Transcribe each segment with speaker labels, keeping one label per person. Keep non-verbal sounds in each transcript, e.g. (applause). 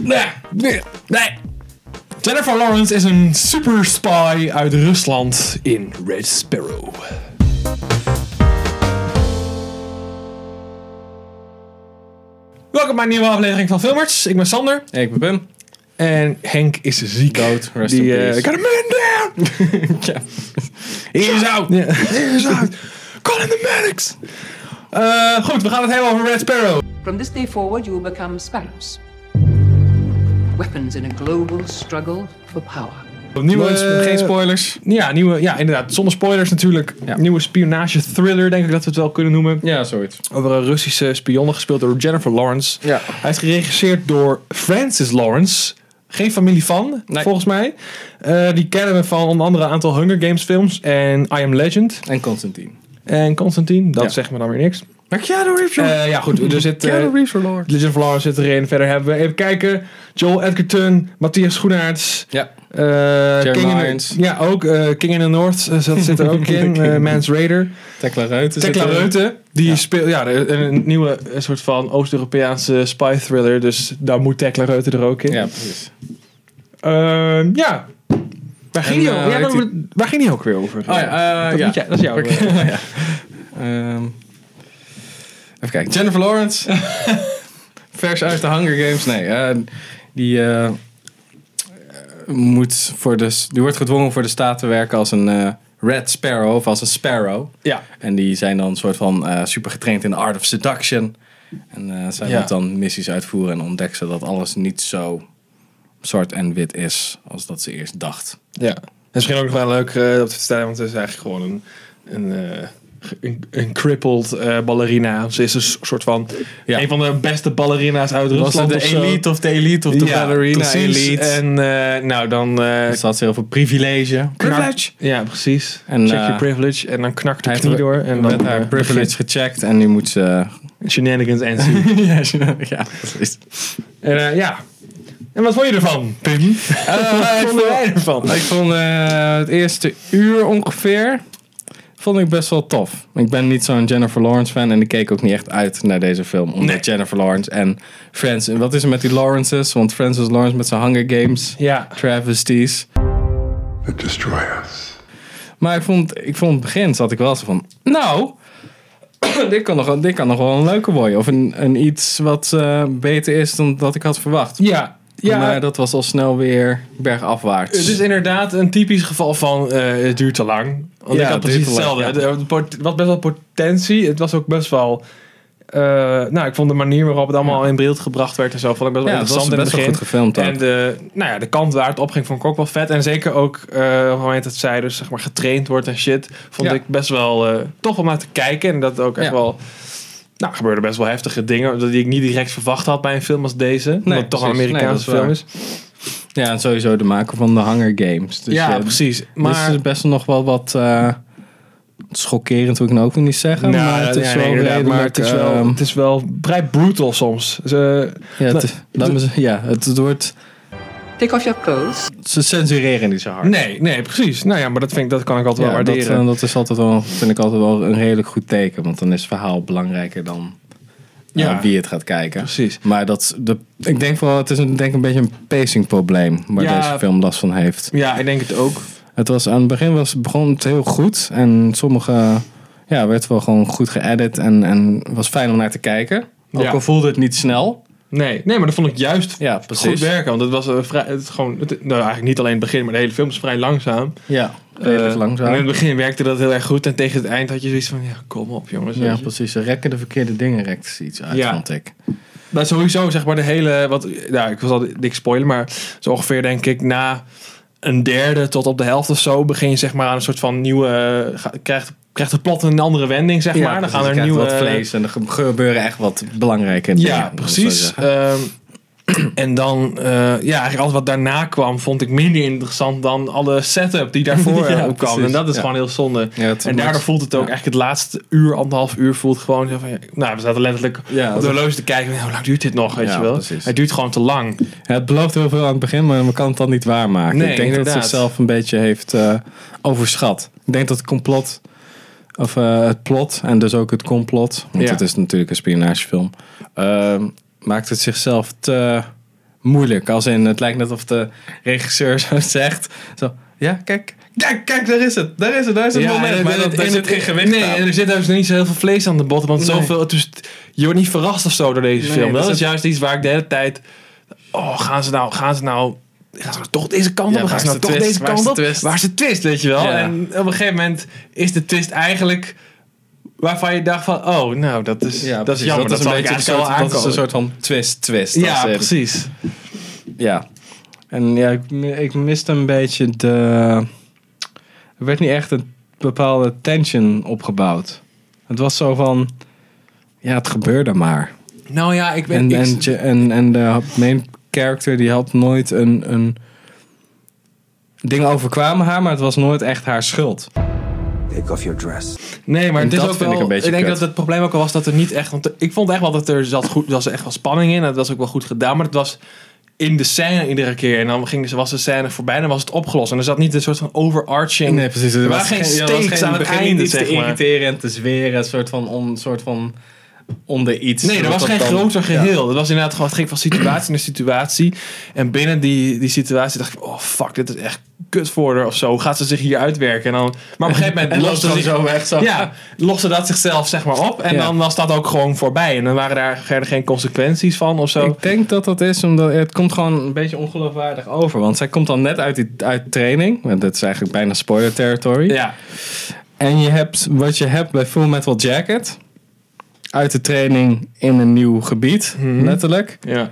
Speaker 1: Nee, nee, nee. Jennifer Lawrence is een super spy uit Rusland in Red Sparrow. Welkom bij een nieuwe aflevering van Filmers. Ik ben Sander
Speaker 2: Hey, ik ben Pim.
Speaker 1: en Henk is ziek.
Speaker 2: Dood, rest
Speaker 1: Die,
Speaker 2: in
Speaker 1: eh,
Speaker 2: peace.
Speaker 1: got a man down!
Speaker 2: (laughs) Ja.
Speaker 1: He is out!
Speaker 2: Ja.
Speaker 1: He is out! Call in the medics! Eh, goed, we gaan het hebben over Red Sparrow.
Speaker 3: From this day forward, you will become sparrows. Weapons in a global struggle for power.
Speaker 1: Nieuwe,
Speaker 2: Eh, geen spoilers.
Speaker 1: Ja, nieuwe, ja, inderdaad. Zonder spoilers natuurlijk.
Speaker 2: Ja.
Speaker 1: Nieuwe spionage-thriller, denk ik dat we het wel kunnen noemen.
Speaker 2: Ja, zoiets.
Speaker 1: Over een Russische spionne, gespeeld door Jennifer Lawrence.
Speaker 2: Ja.
Speaker 1: Hij is geregisseerd door Francis Lawrence. Geen familie van,
Speaker 2: Nee.
Speaker 1: volgens mij. Eh, die kennen we van onder andere een aantal Hunger Games films. En I Am Legend.
Speaker 2: En Constantine.
Speaker 1: En Constantine, dat
Speaker 2: Ja.
Speaker 1: zegt me dan weer niks.
Speaker 2: Maar Keanu Reeves,
Speaker 1: Eh, ja, goed. Er zit, eh,
Speaker 2: Keanu Reeves, verloren.
Speaker 1: Jennifer Lawrence zit erin. Verder hebben we, even kijken, Joel Edgerton, Matthias Schoenaerts.
Speaker 2: Ja.
Speaker 1: Eh,
Speaker 2: Jeremy
Speaker 1: King in the-
Speaker 2: Irons.
Speaker 1: ja, ook eh, King in the North eh, zat, zit er
Speaker 2: (laughs)
Speaker 1: ook in. eh, Mans Raider.
Speaker 2: Tekla Ruiten.
Speaker 1: Tekla
Speaker 2: zit er-
Speaker 1: Reuten, die
Speaker 2: Dus eh, Ja.
Speaker 1: speelt ja, de- een, een nieuwe eh, soort van Oost-Europese spy thriller. Dus daar moet Tekla Reuten er ook in.
Speaker 2: Ja, precies.
Speaker 1: Ehm, ja. Waar, ging die
Speaker 2: eh,
Speaker 1: ook- ja,
Speaker 2: heeft
Speaker 1: waar, waar ging die ook weer over?
Speaker 2: Oh ja, eh,
Speaker 1: dat,
Speaker 2: ja.
Speaker 1: moet jij- dat is jouw
Speaker 2: (laughs) Oké.
Speaker 1: werk.
Speaker 2: Ja. Ehm, even kijken. Jennifer Lawrence. (laughs) Vers uit de Hunger Games. Nee, eh, die eh, eh, moet voor de, s- die wordt gedwongen voor de staat te werken als een eh, Red Sparrow of als een Sparrow.
Speaker 1: Ja.
Speaker 2: En die zijn dan een soort van eh, super getraind in de art of seduction. En eh, zij
Speaker 1: Ja.
Speaker 2: moet dan missies uitvoeren en ontdekt ze dat alles niet zo zwart en wit is als dat ze eerst dacht.
Speaker 1: Ja. En misschien ook nog wel leuk eh, op te vertellen, want ze is eigenlijk gewoon een, een, eh, ge- een, een crippled eh, ballerina. Ze is dus een s- soort van
Speaker 2: Ja.
Speaker 1: een van de beste ballerina's uit
Speaker 2: Was het
Speaker 1: Rusland.
Speaker 2: de
Speaker 1: of zo.
Speaker 2: elite of de elite of de
Speaker 1: Ja,
Speaker 2: ballerina
Speaker 1: precies.
Speaker 2: elite? En,
Speaker 1: En eh, nou, dan... eh,
Speaker 2: dus had ze heel veel privilege.
Speaker 1: knak- ja, precies.
Speaker 2: En,
Speaker 1: Check
Speaker 2: eh,
Speaker 1: je privilege. En dan knakt
Speaker 2: Hij
Speaker 1: de
Speaker 2: heeft
Speaker 1: knie door. En dan
Speaker 2: haar
Speaker 1: eh,
Speaker 2: privilege gecheckt en nu moet ze...
Speaker 1: begint shenanigans en zien.
Speaker 2: (laughs) ja, ja, precies.
Speaker 1: En eh, ja. En wat vond je ervan, Pim? wat
Speaker 2: ik
Speaker 1: vonden
Speaker 2: vond-
Speaker 1: wij ervan?
Speaker 2: Ik vond eh, het eerste uur ongeveer vond ik best wel tof. Ik ben niet zo'n Jennifer Lawrence fan en ik keek ook niet echt uit naar deze film. Omdat
Speaker 1: Nee.
Speaker 2: Jennifer Lawrence en Francis... Wat is er met die Lawrences? Want Francis Lawrence met zijn Hunger Games
Speaker 1: Ja.
Speaker 2: travesties.
Speaker 4: that destroy us.
Speaker 2: Maar ik vond, ik vond het begin zat ik wel zo van... (clears throat) Nou, dit, kan nog, wel- dit kan nog wel een leuke worden. Of een, een iets wat eh, beter is dan dat ik had verwacht.
Speaker 1: Ja. Ja,
Speaker 2: Maar dat was al snel weer bergafwaarts.
Speaker 1: Het is inderdaad een typisch geval van eh, het duurt te lang. Want ik
Speaker 2: Ja,
Speaker 1: had
Speaker 2: het
Speaker 1: precies
Speaker 2: duurt te lang,
Speaker 1: hetzelfde. Het pot- was best wel potentie. Het was ook best wel... eh, nou, ik vond de manier waarop het allemaal in beeld gebracht werd en zo, vond ik best wel
Speaker 2: ja, het was
Speaker 1: interessant in het
Speaker 2: best wel
Speaker 1: begin.
Speaker 2: goed gefilmd ook.
Speaker 1: En de, nou ja, de kant waar het op ging vond ik ook wel vet. En zeker ook eh, op het moment dat zij dus zeg maar getraind wordt en shit, vond
Speaker 2: Ja.
Speaker 1: ik best wel eh, tof om naar te kijken. En dat ook echt
Speaker 2: Ja.
Speaker 1: wel, nou, gebeurden best wel heftige dingen die ik niet direct verwacht had bij een film als deze. omdat het toch een
Speaker 2: precies. Nee,
Speaker 1: Amerikaanse
Speaker 2: dat is
Speaker 1: film
Speaker 2: waar.
Speaker 1: is.
Speaker 2: Ja, en sowieso de maken van de Hunger Games. Dus
Speaker 1: ja,
Speaker 2: eh,
Speaker 1: precies.
Speaker 2: Maar...
Speaker 1: Maar
Speaker 2: het is best nog wel wat eh, schokkerend, wil ik nou ook weer niet zeggen.
Speaker 1: Nou,
Speaker 2: maar het is
Speaker 1: ja, nee,
Speaker 2: wel
Speaker 1: inderdaad,
Speaker 2: redelijk,
Speaker 1: maar het is wel,
Speaker 2: ehm,
Speaker 1: het is wel vrij brutal soms. Dus, Ze,
Speaker 2: ja, het,
Speaker 1: Nou,
Speaker 2: laat me zeggen, ja, het, het wordt...
Speaker 3: Take off your clothes.
Speaker 2: Ze censureren niet zo hard.
Speaker 1: nee, nee, precies. Nou ja, maar dat, vind ik, dat kan ik altijd
Speaker 2: Ja,
Speaker 1: wel
Speaker 2: dat,
Speaker 1: waarderen.
Speaker 2: eh, dat is altijd wel, vind ik altijd wel een redelijk goed teken. Want dan is het verhaal belangrijker dan eh,
Speaker 1: Ja.
Speaker 2: wie het gaat kijken.
Speaker 1: precies.
Speaker 2: Maar dat, de, ik denk vooral, het is een, denk een beetje een pacing probleem. Waar
Speaker 1: Ja.
Speaker 2: deze film last van heeft.
Speaker 1: Ja, ik denk het ook.
Speaker 2: Het was aan het begin was, begon het heel goed. En sommige ja, werd wel gewoon goed geëdit. En, en was fijn om naar te kijken. Ook
Speaker 1: Ja.
Speaker 2: al voelde het niet snel.
Speaker 1: Nee, nee, maar dat vond ik juist
Speaker 2: Ja,
Speaker 1: goed
Speaker 2: precies.
Speaker 1: werken. Want het was eh, vrij, het is gewoon, het, nou, eigenlijk niet alleen het begin, maar de hele film is vrij langzaam.
Speaker 2: Ja, redelijk
Speaker 1: Eh, En in
Speaker 2: langzaam.
Speaker 1: het begin werkte dat heel erg goed. En tegen het eind had je zoiets van, ja, kom op jongens.
Speaker 2: Ja,
Speaker 1: weet je.
Speaker 2: precies. Ze rekken de verkeerde dingen rekt ze iets uit,
Speaker 1: Ja.
Speaker 2: vond ik.
Speaker 1: Maar Nou, sowieso, zeg maar, de hele... Wat, nou, ik wil al niks spoilen, maar zo ongeveer denk ik na een derde tot op de helft of zo... begin je zeg maar aan een soort van nieuwe... eh, ga- krijgt, krijgt het plot een andere wending, zeg maar. Dan gaan er nieuwe...
Speaker 2: dus
Speaker 1: eh,
Speaker 2: wat vlees en er gebeuren echt wat belangrijke dingen.
Speaker 1: Ja, precies. Ehm, (clears throat) en dan, eh, ja, eigenlijk alles wat daarna kwam, vond ik minder interessant dan alle setup die daarvoor
Speaker 2: (laughs) Ja,
Speaker 1: eh, opkwam.
Speaker 2: precies.
Speaker 1: En dat is
Speaker 2: Ja.
Speaker 1: gewoon heel zonde.
Speaker 2: Ja, het
Speaker 1: en daardoor
Speaker 2: maakt-
Speaker 1: voelt het ook
Speaker 2: ja.
Speaker 1: echt het laatste uur, anderhalf uur voelt gewoon zo van, ja, nou, we zaten letterlijk
Speaker 2: Ja,
Speaker 1: op
Speaker 2: dat-
Speaker 1: de horloge te kijken, hoe lang duurt dit nog, weet
Speaker 2: Ja,
Speaker 1: je wel.
Speaker 2: precies.
Speaker 1: Het duurt gewoon te lang.
Speaker 2: Het belooft heel veel aan het begin, maar men kan het dan niet waarmaken.
Speaker 1: Nee,
Speaker 2: ik denk dat
Speaker 1: inderdaad.
Speaker 2: het zichzelf een beetje heeft eh, overschat. Ik denk dat het complot, of eh, het plot en dus ook het complot, want
Speaker 1: Ja.
Speaker 2: ehm, het is natuurlijk een spionagefilm, eh, maakt het zichzelf te moeilijk. Als in, het lijkt net of de regisseur (laughs) zo zegt. Zo, ja, kijk. Kijk, kijk, daar is het. Daar is het, daar is het moment. Maar dat, daar zit geen gewicht
Speaker 1: nee,
Speaker 2: aan.
Speaker 1: en er zit dus niet zo heel veel vlees aan de botten. Want
Speaker 2: Nee.
Speaker 1: zoveel, dus, je wordt niet verrast of zo door deze
Speaker 2: Nee,
Speaker 1: film.
Speaker 2: dat
Speaker 1: Dat
Speaker 2: is
Speaker 1: is
Speaker 2: het.
Speaker 1: juist iets waar ik de hele tijd... Oh, gaan ze nou... Gaan ze nou Gaan ze nou toch deze kant
Speaker 2: Ja,
Speaker 1: op? Gaan
Speaker 2: waar
Speaker 1: ze
Speaker 2: is
Speaker 1: nou
Speaker 2: de
Speaker 1: toch
Speaker 2: twist?
Speaker 1: deze
Speaker 2: Waar is
Speaker 1: kant
Speaker 2: de
Speaker 1: op?
Speaker 2: twist?
Speaker 1: Waar is de twist, weet je wel?
Speaker 2: Ja.
Speaker 1: En op een gegeven moment is de twist eigenlijk waarvan je dacht van... Oh, nou, dat is,
Speaker 2: Ja,
Speaker 1: dat is
Speaker 2: precies.
Speaker 1: jammer. Dat,
Speaker 2: is een beetje
Speaker 1: dat
Speaker 2: een soort, dat is een soort van twist, twist. Dat
Speaker 1: Ja,
Speaker 2: is het.
Speaker 1: precies.
Speaker 2: Ja. En ja, ik, ik miste een beetje de... Er werd niet echt een bepaalde tension opgebouwd. Het was zo van... Ja, het gebeurde maar.
Speaker 1: Nou ja, ik ben...
Speaker 2: En,
Speaker 1: ik-
Speaker 2: en, je- en, en de main character die had nooit een... een Dingen overkwamen haar, maar het was nooit echt haar schuld.
Speaker 5: Take off your dress.
Speaker 1: Nee, maar
Speaker 2: En
Speaker 1: het is
Speaker 2: dat
Speaker 1: ook
Speaker 2: vind
Speaker 1: wel,
Speaker 2: ik een beetje
Speaker 1: denk
Speaker 2: kut.
Speaker 1: dat het probleem ook al was dat er niet echt... Want ik vond echt wel dat er zat goed, er was echt wel spanning in. Dat was ook wel goed gedaan. Maar het was in de scène iedere keer. En dan ging, ze- was de scène voorbij en dan was het opgelost. En er zat niet een soort van overarching...
Speaker 2: precies.
Speaker 1: Er waren geen stakes aan het einde,
Speaker 2: iets te
Speaker 1: zeg maar.
Speaker 2: irriteren en te zweren. Een soort van, on, soort van onder iets.
Speaker 1: Nee, er was
Speaker 2: Dat
Speaker 1: geen
Speaker 2: dan-
Speaker 1: groter
Speaker 2: Ja.
Speaker 1: geheel. Het was inderdaad gewoon, het ging van situatie naar situatie. En binnen die, die situatie dacht ik, oh fuck, dit is echt kut voor haar of zo. Hoe gaat ze zich hier uitwerken? En dan, maar op een gegeven moment
Speaker 2: (laughs) En
Speaker 1: lost
Speaker 2: loopt
Speaker 1: ze
Speaker 2: dan
Speaker 1: zich-
Speaker 2: zo weg. Zo.
Speaker 1: Ja, loste dat zichzelf zeg maar op. En
Speaker 2: Ja.
Speaker 1: dan was dat ook gewoon voorbij. En dan waren daar verder geen consequenties van of zo.
Speaker 2: Ik denk dat dat is omdat het komt gewoon een beetje ongeloofwaardig over. Want zij komt dan net uit, die, uit training. Want dat is eigenlijk bijna spoiler territory.
Speaker 1: Ja,
Speaker 2: En je hebt wat je hebt bij Full Metal Jacket. Uit de training in een nieuw gebied,
Speaker 1: Mhm.
Speaker 2: letterlijk.
Speaker 1: ja.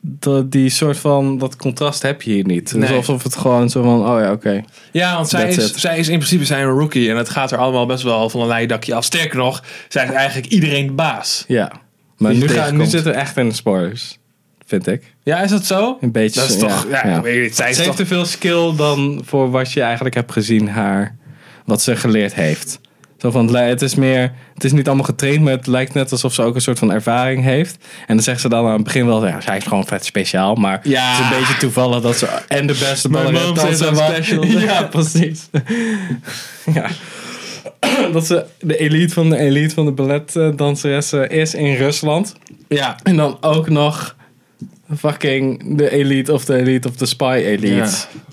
Speaker 2: Dat, die soort van, dat contrast heb je hier niet.
Speaker 1: Nee.
Speaker 2: Dus alsof het gewoon zo van, oh ja, oké.
Speaker 1: ja want zij
Speaker 2: That's
Speaker 1: is,
Speaker 2: it.
Speaker 1: zij is in principe zijn een rookie. En het gaat er allemaal best wel van een leien dakje af. Sterker nog, zij is eigenlijk iedereen de baas.
Speaker 2: Ja. Maar
Speaker 1: Die
Speaker 2: nu,
Speaker 1: je
Speaker 2: ga, nu
Speaker 1: tegenkomt.
Speaker 2: zitten we echt in de spoilers. Vind ik.
Speaker 1: Ja, is dat zo?
Speaker 2: Een beetje.
Speaker 1: Dat is
Speaker 2: zo,
Speaker 1: toch, ja, ik weet niet, zij is
Speaker 2: Ze heeft
Speaker 1: toch...
Speaker 2: te veel skill dan voor wat je eigenlijk hebt gezien haar, wat ze geleerd heeft. Zo van, het li- het is meer, het is niet allemaal getraind, maar het lijkt net alsof ze ook een soort van ervaring heeft. En dan zegt ze dan aan het begin wel, ja, zij is gewoon vet speciaal, maar
Speaker 1: Ja.
Speaker 2: het is een beetje toevallig dat ze en de beste
Speaker 1: My
Speaker 2: ballerin
Speaker 1: mom says
Speaker 2: dansen
Speaker 1: I'm
Speaker 2: was.
Speaker 1: special.
Speaker 2: Ja, precies. ja. Dat ze de elite van de elite van de balletdanseressen is in Rusland.
Speaker 1: Ja,
Speaker 2: En dan ook nog fucking de elite of de elite of de spy elite.
Speaker 1: ja.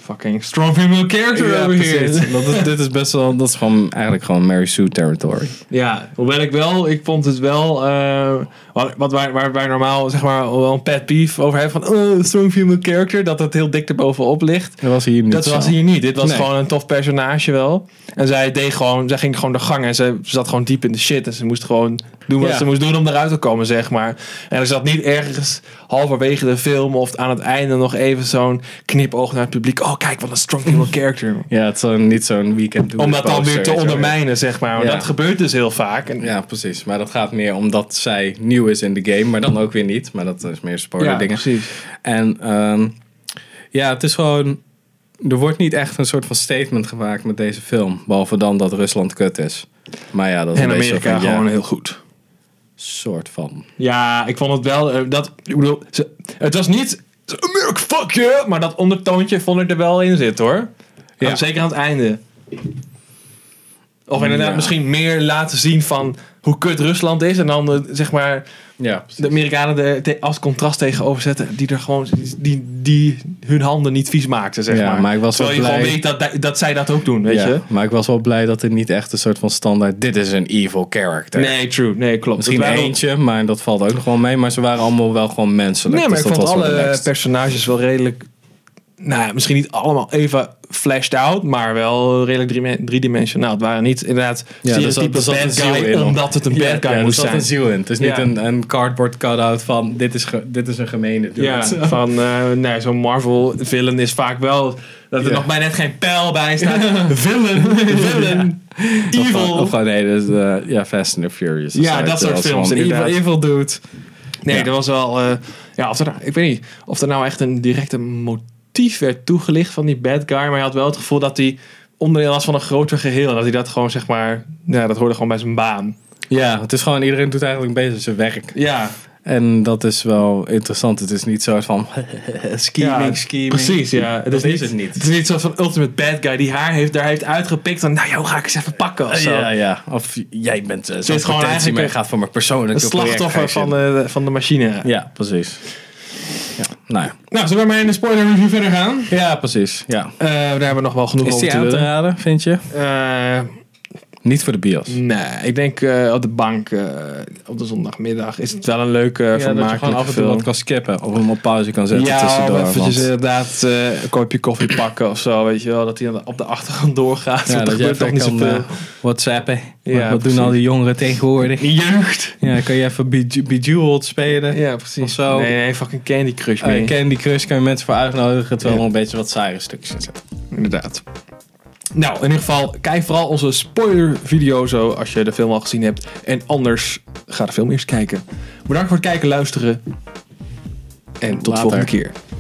Speaker 1: Fucking strong female character
Speaker 2: Ja,
Speaker 1: over
Speaker 2: precies.
Speaker 1: here.
Speaker 2: Dat is, dit is best wel, dat is gewoon eigenlijk gewoon Mary Sue territory.
Speaker 1: Ja, hoewel ik wel, ik vond het wel, eh, wat, wat waar, waar, waar normaal zeg maar wel een pet peeve over heb van oh, strong female character, dat dat heel dik erbovenop ligt.
Speaker 2: Dat was hier niet
Speaker 1: Dat
Speaker 2: zo.
Speaker 1: was hier niet. Dit was
Speaker 2: Nee.
Speaker 1: gewoon een tof personage wel. En zij deed gewoon, zij ging gewoon de gang en ze zat gewoon diep in de shit. En ze moest gewoon doen wat
Speaker 2: Ja.
Speaker 1: ze moest doen om eruit te komen, zeg maar. En er zat niet ergens halverwege de film of aan het einde nog even zo'n knipoog naar het publiek. Oh, kijk, wat een strong
Speaker 2: (laughs)
Speaker 1: female character.
Speaker 2: Ja, het is zo niet zo'n weekend doen.
Speaker 1: Om dat dan weer te ondermijnen, zeg maar. Want
Speaker 2: Ja.
Speaker 1: dat gebeurt dus heel vaak. En,
Speaker 2: Ja, precies. Maar dat gaat meer omdat zij nieuw is in de game, maar dan ook weer niet. Maar dat is meer spoiler
Speaker 1: Ja,
Speaker 2: dingen.
Speaker 1: precies.
Speaker 2: En ehm, ja, het is gewoon... Er wordt niet echt een soort van statement gemaakt met deze film. Behalve dan dat Rusland kut is. Maar ja, dat is
Speaker 1: En
Speaker 2: een beetje zo
Speaker 1: Amerika
Speaker 2: van, ja,
Speaker 1: gewoon heel goed.
Speaker 2: soort van.
Speaker 1: Ja, ik vond het wel. eh, dat, ik bedoel, ze- het was niet. Amerika, fuck yeah! Maar dat ondertoontje vond ik er wel in zitten hoor.
Speaker 2: Ja.
Speaker 1: Aan- Zeker aan het einde. Of inderdaad,
Speaker 2: Ja.
Speaker 1: misschien meer laten zien van hoe kut Rusland is. En dan eh, zeg maar
Speaker 2: Ja,
Speaker 1: de Amerikanen er te- als contrast tegenover zetten. Die er gewoon. Die, die hun handen niet vies maakten, zeg
Speaker 2: Ja,
Speaker 1: maar.
Speaker 2: maar ik was wel
Speaker 1: Terwijl je gewoon
Speaker 2: blij-
Speaker 1: weet dat, dat zij dat ook doen, weet
Speaker 2: Ja,
Speaker 1: je?
Speaker 2: Maar ik was wel blij dat het niet echt een soort van standaard. Dit is een evil character.
Speaker 1: Nee, true. Nee, klopt.
Speaker 2: Misschien
Speaker 1: Het waren-
Speaker 2: eentje, maar dat valt ook nog wel mee. Maar ze waren allemaal wel gewoon menselijk.
Speaker 1: Nee, maar
Speaker 2: dus
Speaker 1: ik
Speaker 2: dat
Speaker 1: vond
Speaker 2: was wel
Speaker 1: alle
Speaker 2: relaxed.
Speaker 1: personages wel redelijk. Nou, ja, misschien niet allemaal even flashed out, maar wel redelijk drie- driedimensionaal. Het waren niet inderdaad
Speaker 2: Ja, er zat-
Speaker 1: stereotype
Speaker 2: er zat een
Speaker 1: bad
Speaker 2: ziel
Speaker 1: guy,
Speaker 2: in.
Speaker 1: omdat het een
Speaker 2: Ja,
Speaker 1: bad guy
Speaker 2: ja, er
Speaker 1: moest
Speaker 2: zat
Speaker 1: zijn.
Speaker 2: een ziel in. Het is niet
Speaker 1: Ja.
Speaker 2: een, een cardboard cut-out van dit is, ge- dit is een gemene dude.
Speaker 1: Ja, van eh, nee, zo'n Marvel villain is vaak wel dat er
Speaker 2: Ja.
Speaker 1: nog bij net geen pijl bij staat.
Speaker 2: (laughs)
Speaker 1: Villain, villain,
Speaker 2: Of gewoon-
Speaker 1: evil.
Speaker 2: Of gewoon, nee, dus, eh, ja, Fast and the Furious.
Speaker 1: Ja,
Speaker 2: Dus,
Speaker 1: dat soort
Speaker 2: eh, als
Speaker 1: films,
Speaker 2: van, Evil,
Speaker 1: inderdaad.
Speaker 2: evil dude.
Speaker 1: Nee,
Speaker 2: Ja.
Speaker 1: dat was wel. eh, ja, of er nou- ik weet niet of er nou echt een directe motief werd toegelicht van die bad guy. Maar je had wel het gevoel dat hij onderdeel was van een groter geheel. En dat hij dat gewoon zeg maar. Ja, dat hoorde gewoon bij zijn baan.
Speaker 2: Ja, het is gewoon iedereen doet eigenlijk bezig zijn werk.
Speaker 1: Ja,
Speaker 2: En dat is wel interessant. Het is niet soort van (laughs) scheming,
Speaker 1: ja,
Speaker 2: scheming.
Speaker 1: Precies, ja. Het
Speaker 2: Dat is het niet.
Speaker 1: Het is niet zoals van ultimate bad guy die haar heeft, daar heeft uitgepikt. Van, nou joh, ga ik eens even pakken of zo.
Speaker 2: Ja, ja. Of jij bent eh, zo'n
Speaker 1: is gewoon
Speaker 2: potentie, maar
Speaker 1: eigenlijk
Speaker 2: je gaat voor mijn
Speaker 1: Een eh,
Speaker 2: persoonlijke project,
Speaker 1: slachtoffer
Speaker 2: ga je
Speaker 1: van de, van de machine.
Speaker 2: shit. Ja, precies. nou ja.
Speaker 1: Nou, zullen we maar in de spoiler review verder gaan?
Speaker 2: Ja, precies. Ja.
Speaker 1: Eh, daar hebben we nog wel genoeg
Speaker 2: Is
Speaker 1: over
Speaker 2: die
Speaker 1: te
Speaker 2: aan te
Speaker 1: lullen.
Speaker 2: raden, vind je?
Speaker 1: Eh,
Speaker 2: Niet voor de bios.
Speaker 1: nee, ik denk eh, op de bank eh, op de zondagmiddag is het wel een leuke,
Speaker 2: Ja, dat je gewoon
Speaker 1: vermakelijke
Speaker 2: af en toe
Speaker 1: film.
Speaker 2: wat kan skippen. Of hem op pauze kan zetten
Speaker 1: ja,
Speaker 2: tussendoor.
Speaker 1: of eventjes
Speaker 2: want-
Speaker 1: inderdaad eh, een kopje koffie pakken of zo, weet je wel. Dat hij aan de- op de achtergrond doorgaat.
Speaker 2: ja,
Speaker 1: want er
Speaker 2: dat jij
Speaker 1: gebeurt toch
Speaker 2: even
Speaker 1: niet
Speaker 2: kan
Speaker 1: zoveel.
Speaker 2: eh, whatsappen.
Speaker 1: Ja,
Speaker 2: wat wat
Speaker 1: precies.
Speaker 2: doen al die jongeren tegenwoordig?
Speaker 1: Jeugd!
Speaker 2: Ja, kan je even Beju- Bejeweled spelen?
Speaker 1: Ja,
Speaker 2: Of
Speaker 1: precies.
Speaker 2: zo.
Speaker 1: Nee, nee, fucking Candy Crush
Speaker 2: Eh,
Speaker 1: mee.
Speaker 2: Candy Crush kan je mensen voor uitnodigen. Terwijl
Speaker 1: Ja.
Speaker 2: er een beetje wat saaie stukjes in zitten.
Speaker 1: Inderdaad. Nou, in ieder geval, kijk vooral onze spoiler video zo als je de film al gezien hebt. En anders ga de film eerst kijken. Bedankt voor het kijken, luisteren. En tot de
Speaker 2: Later.
Speaker 1: volgende keer.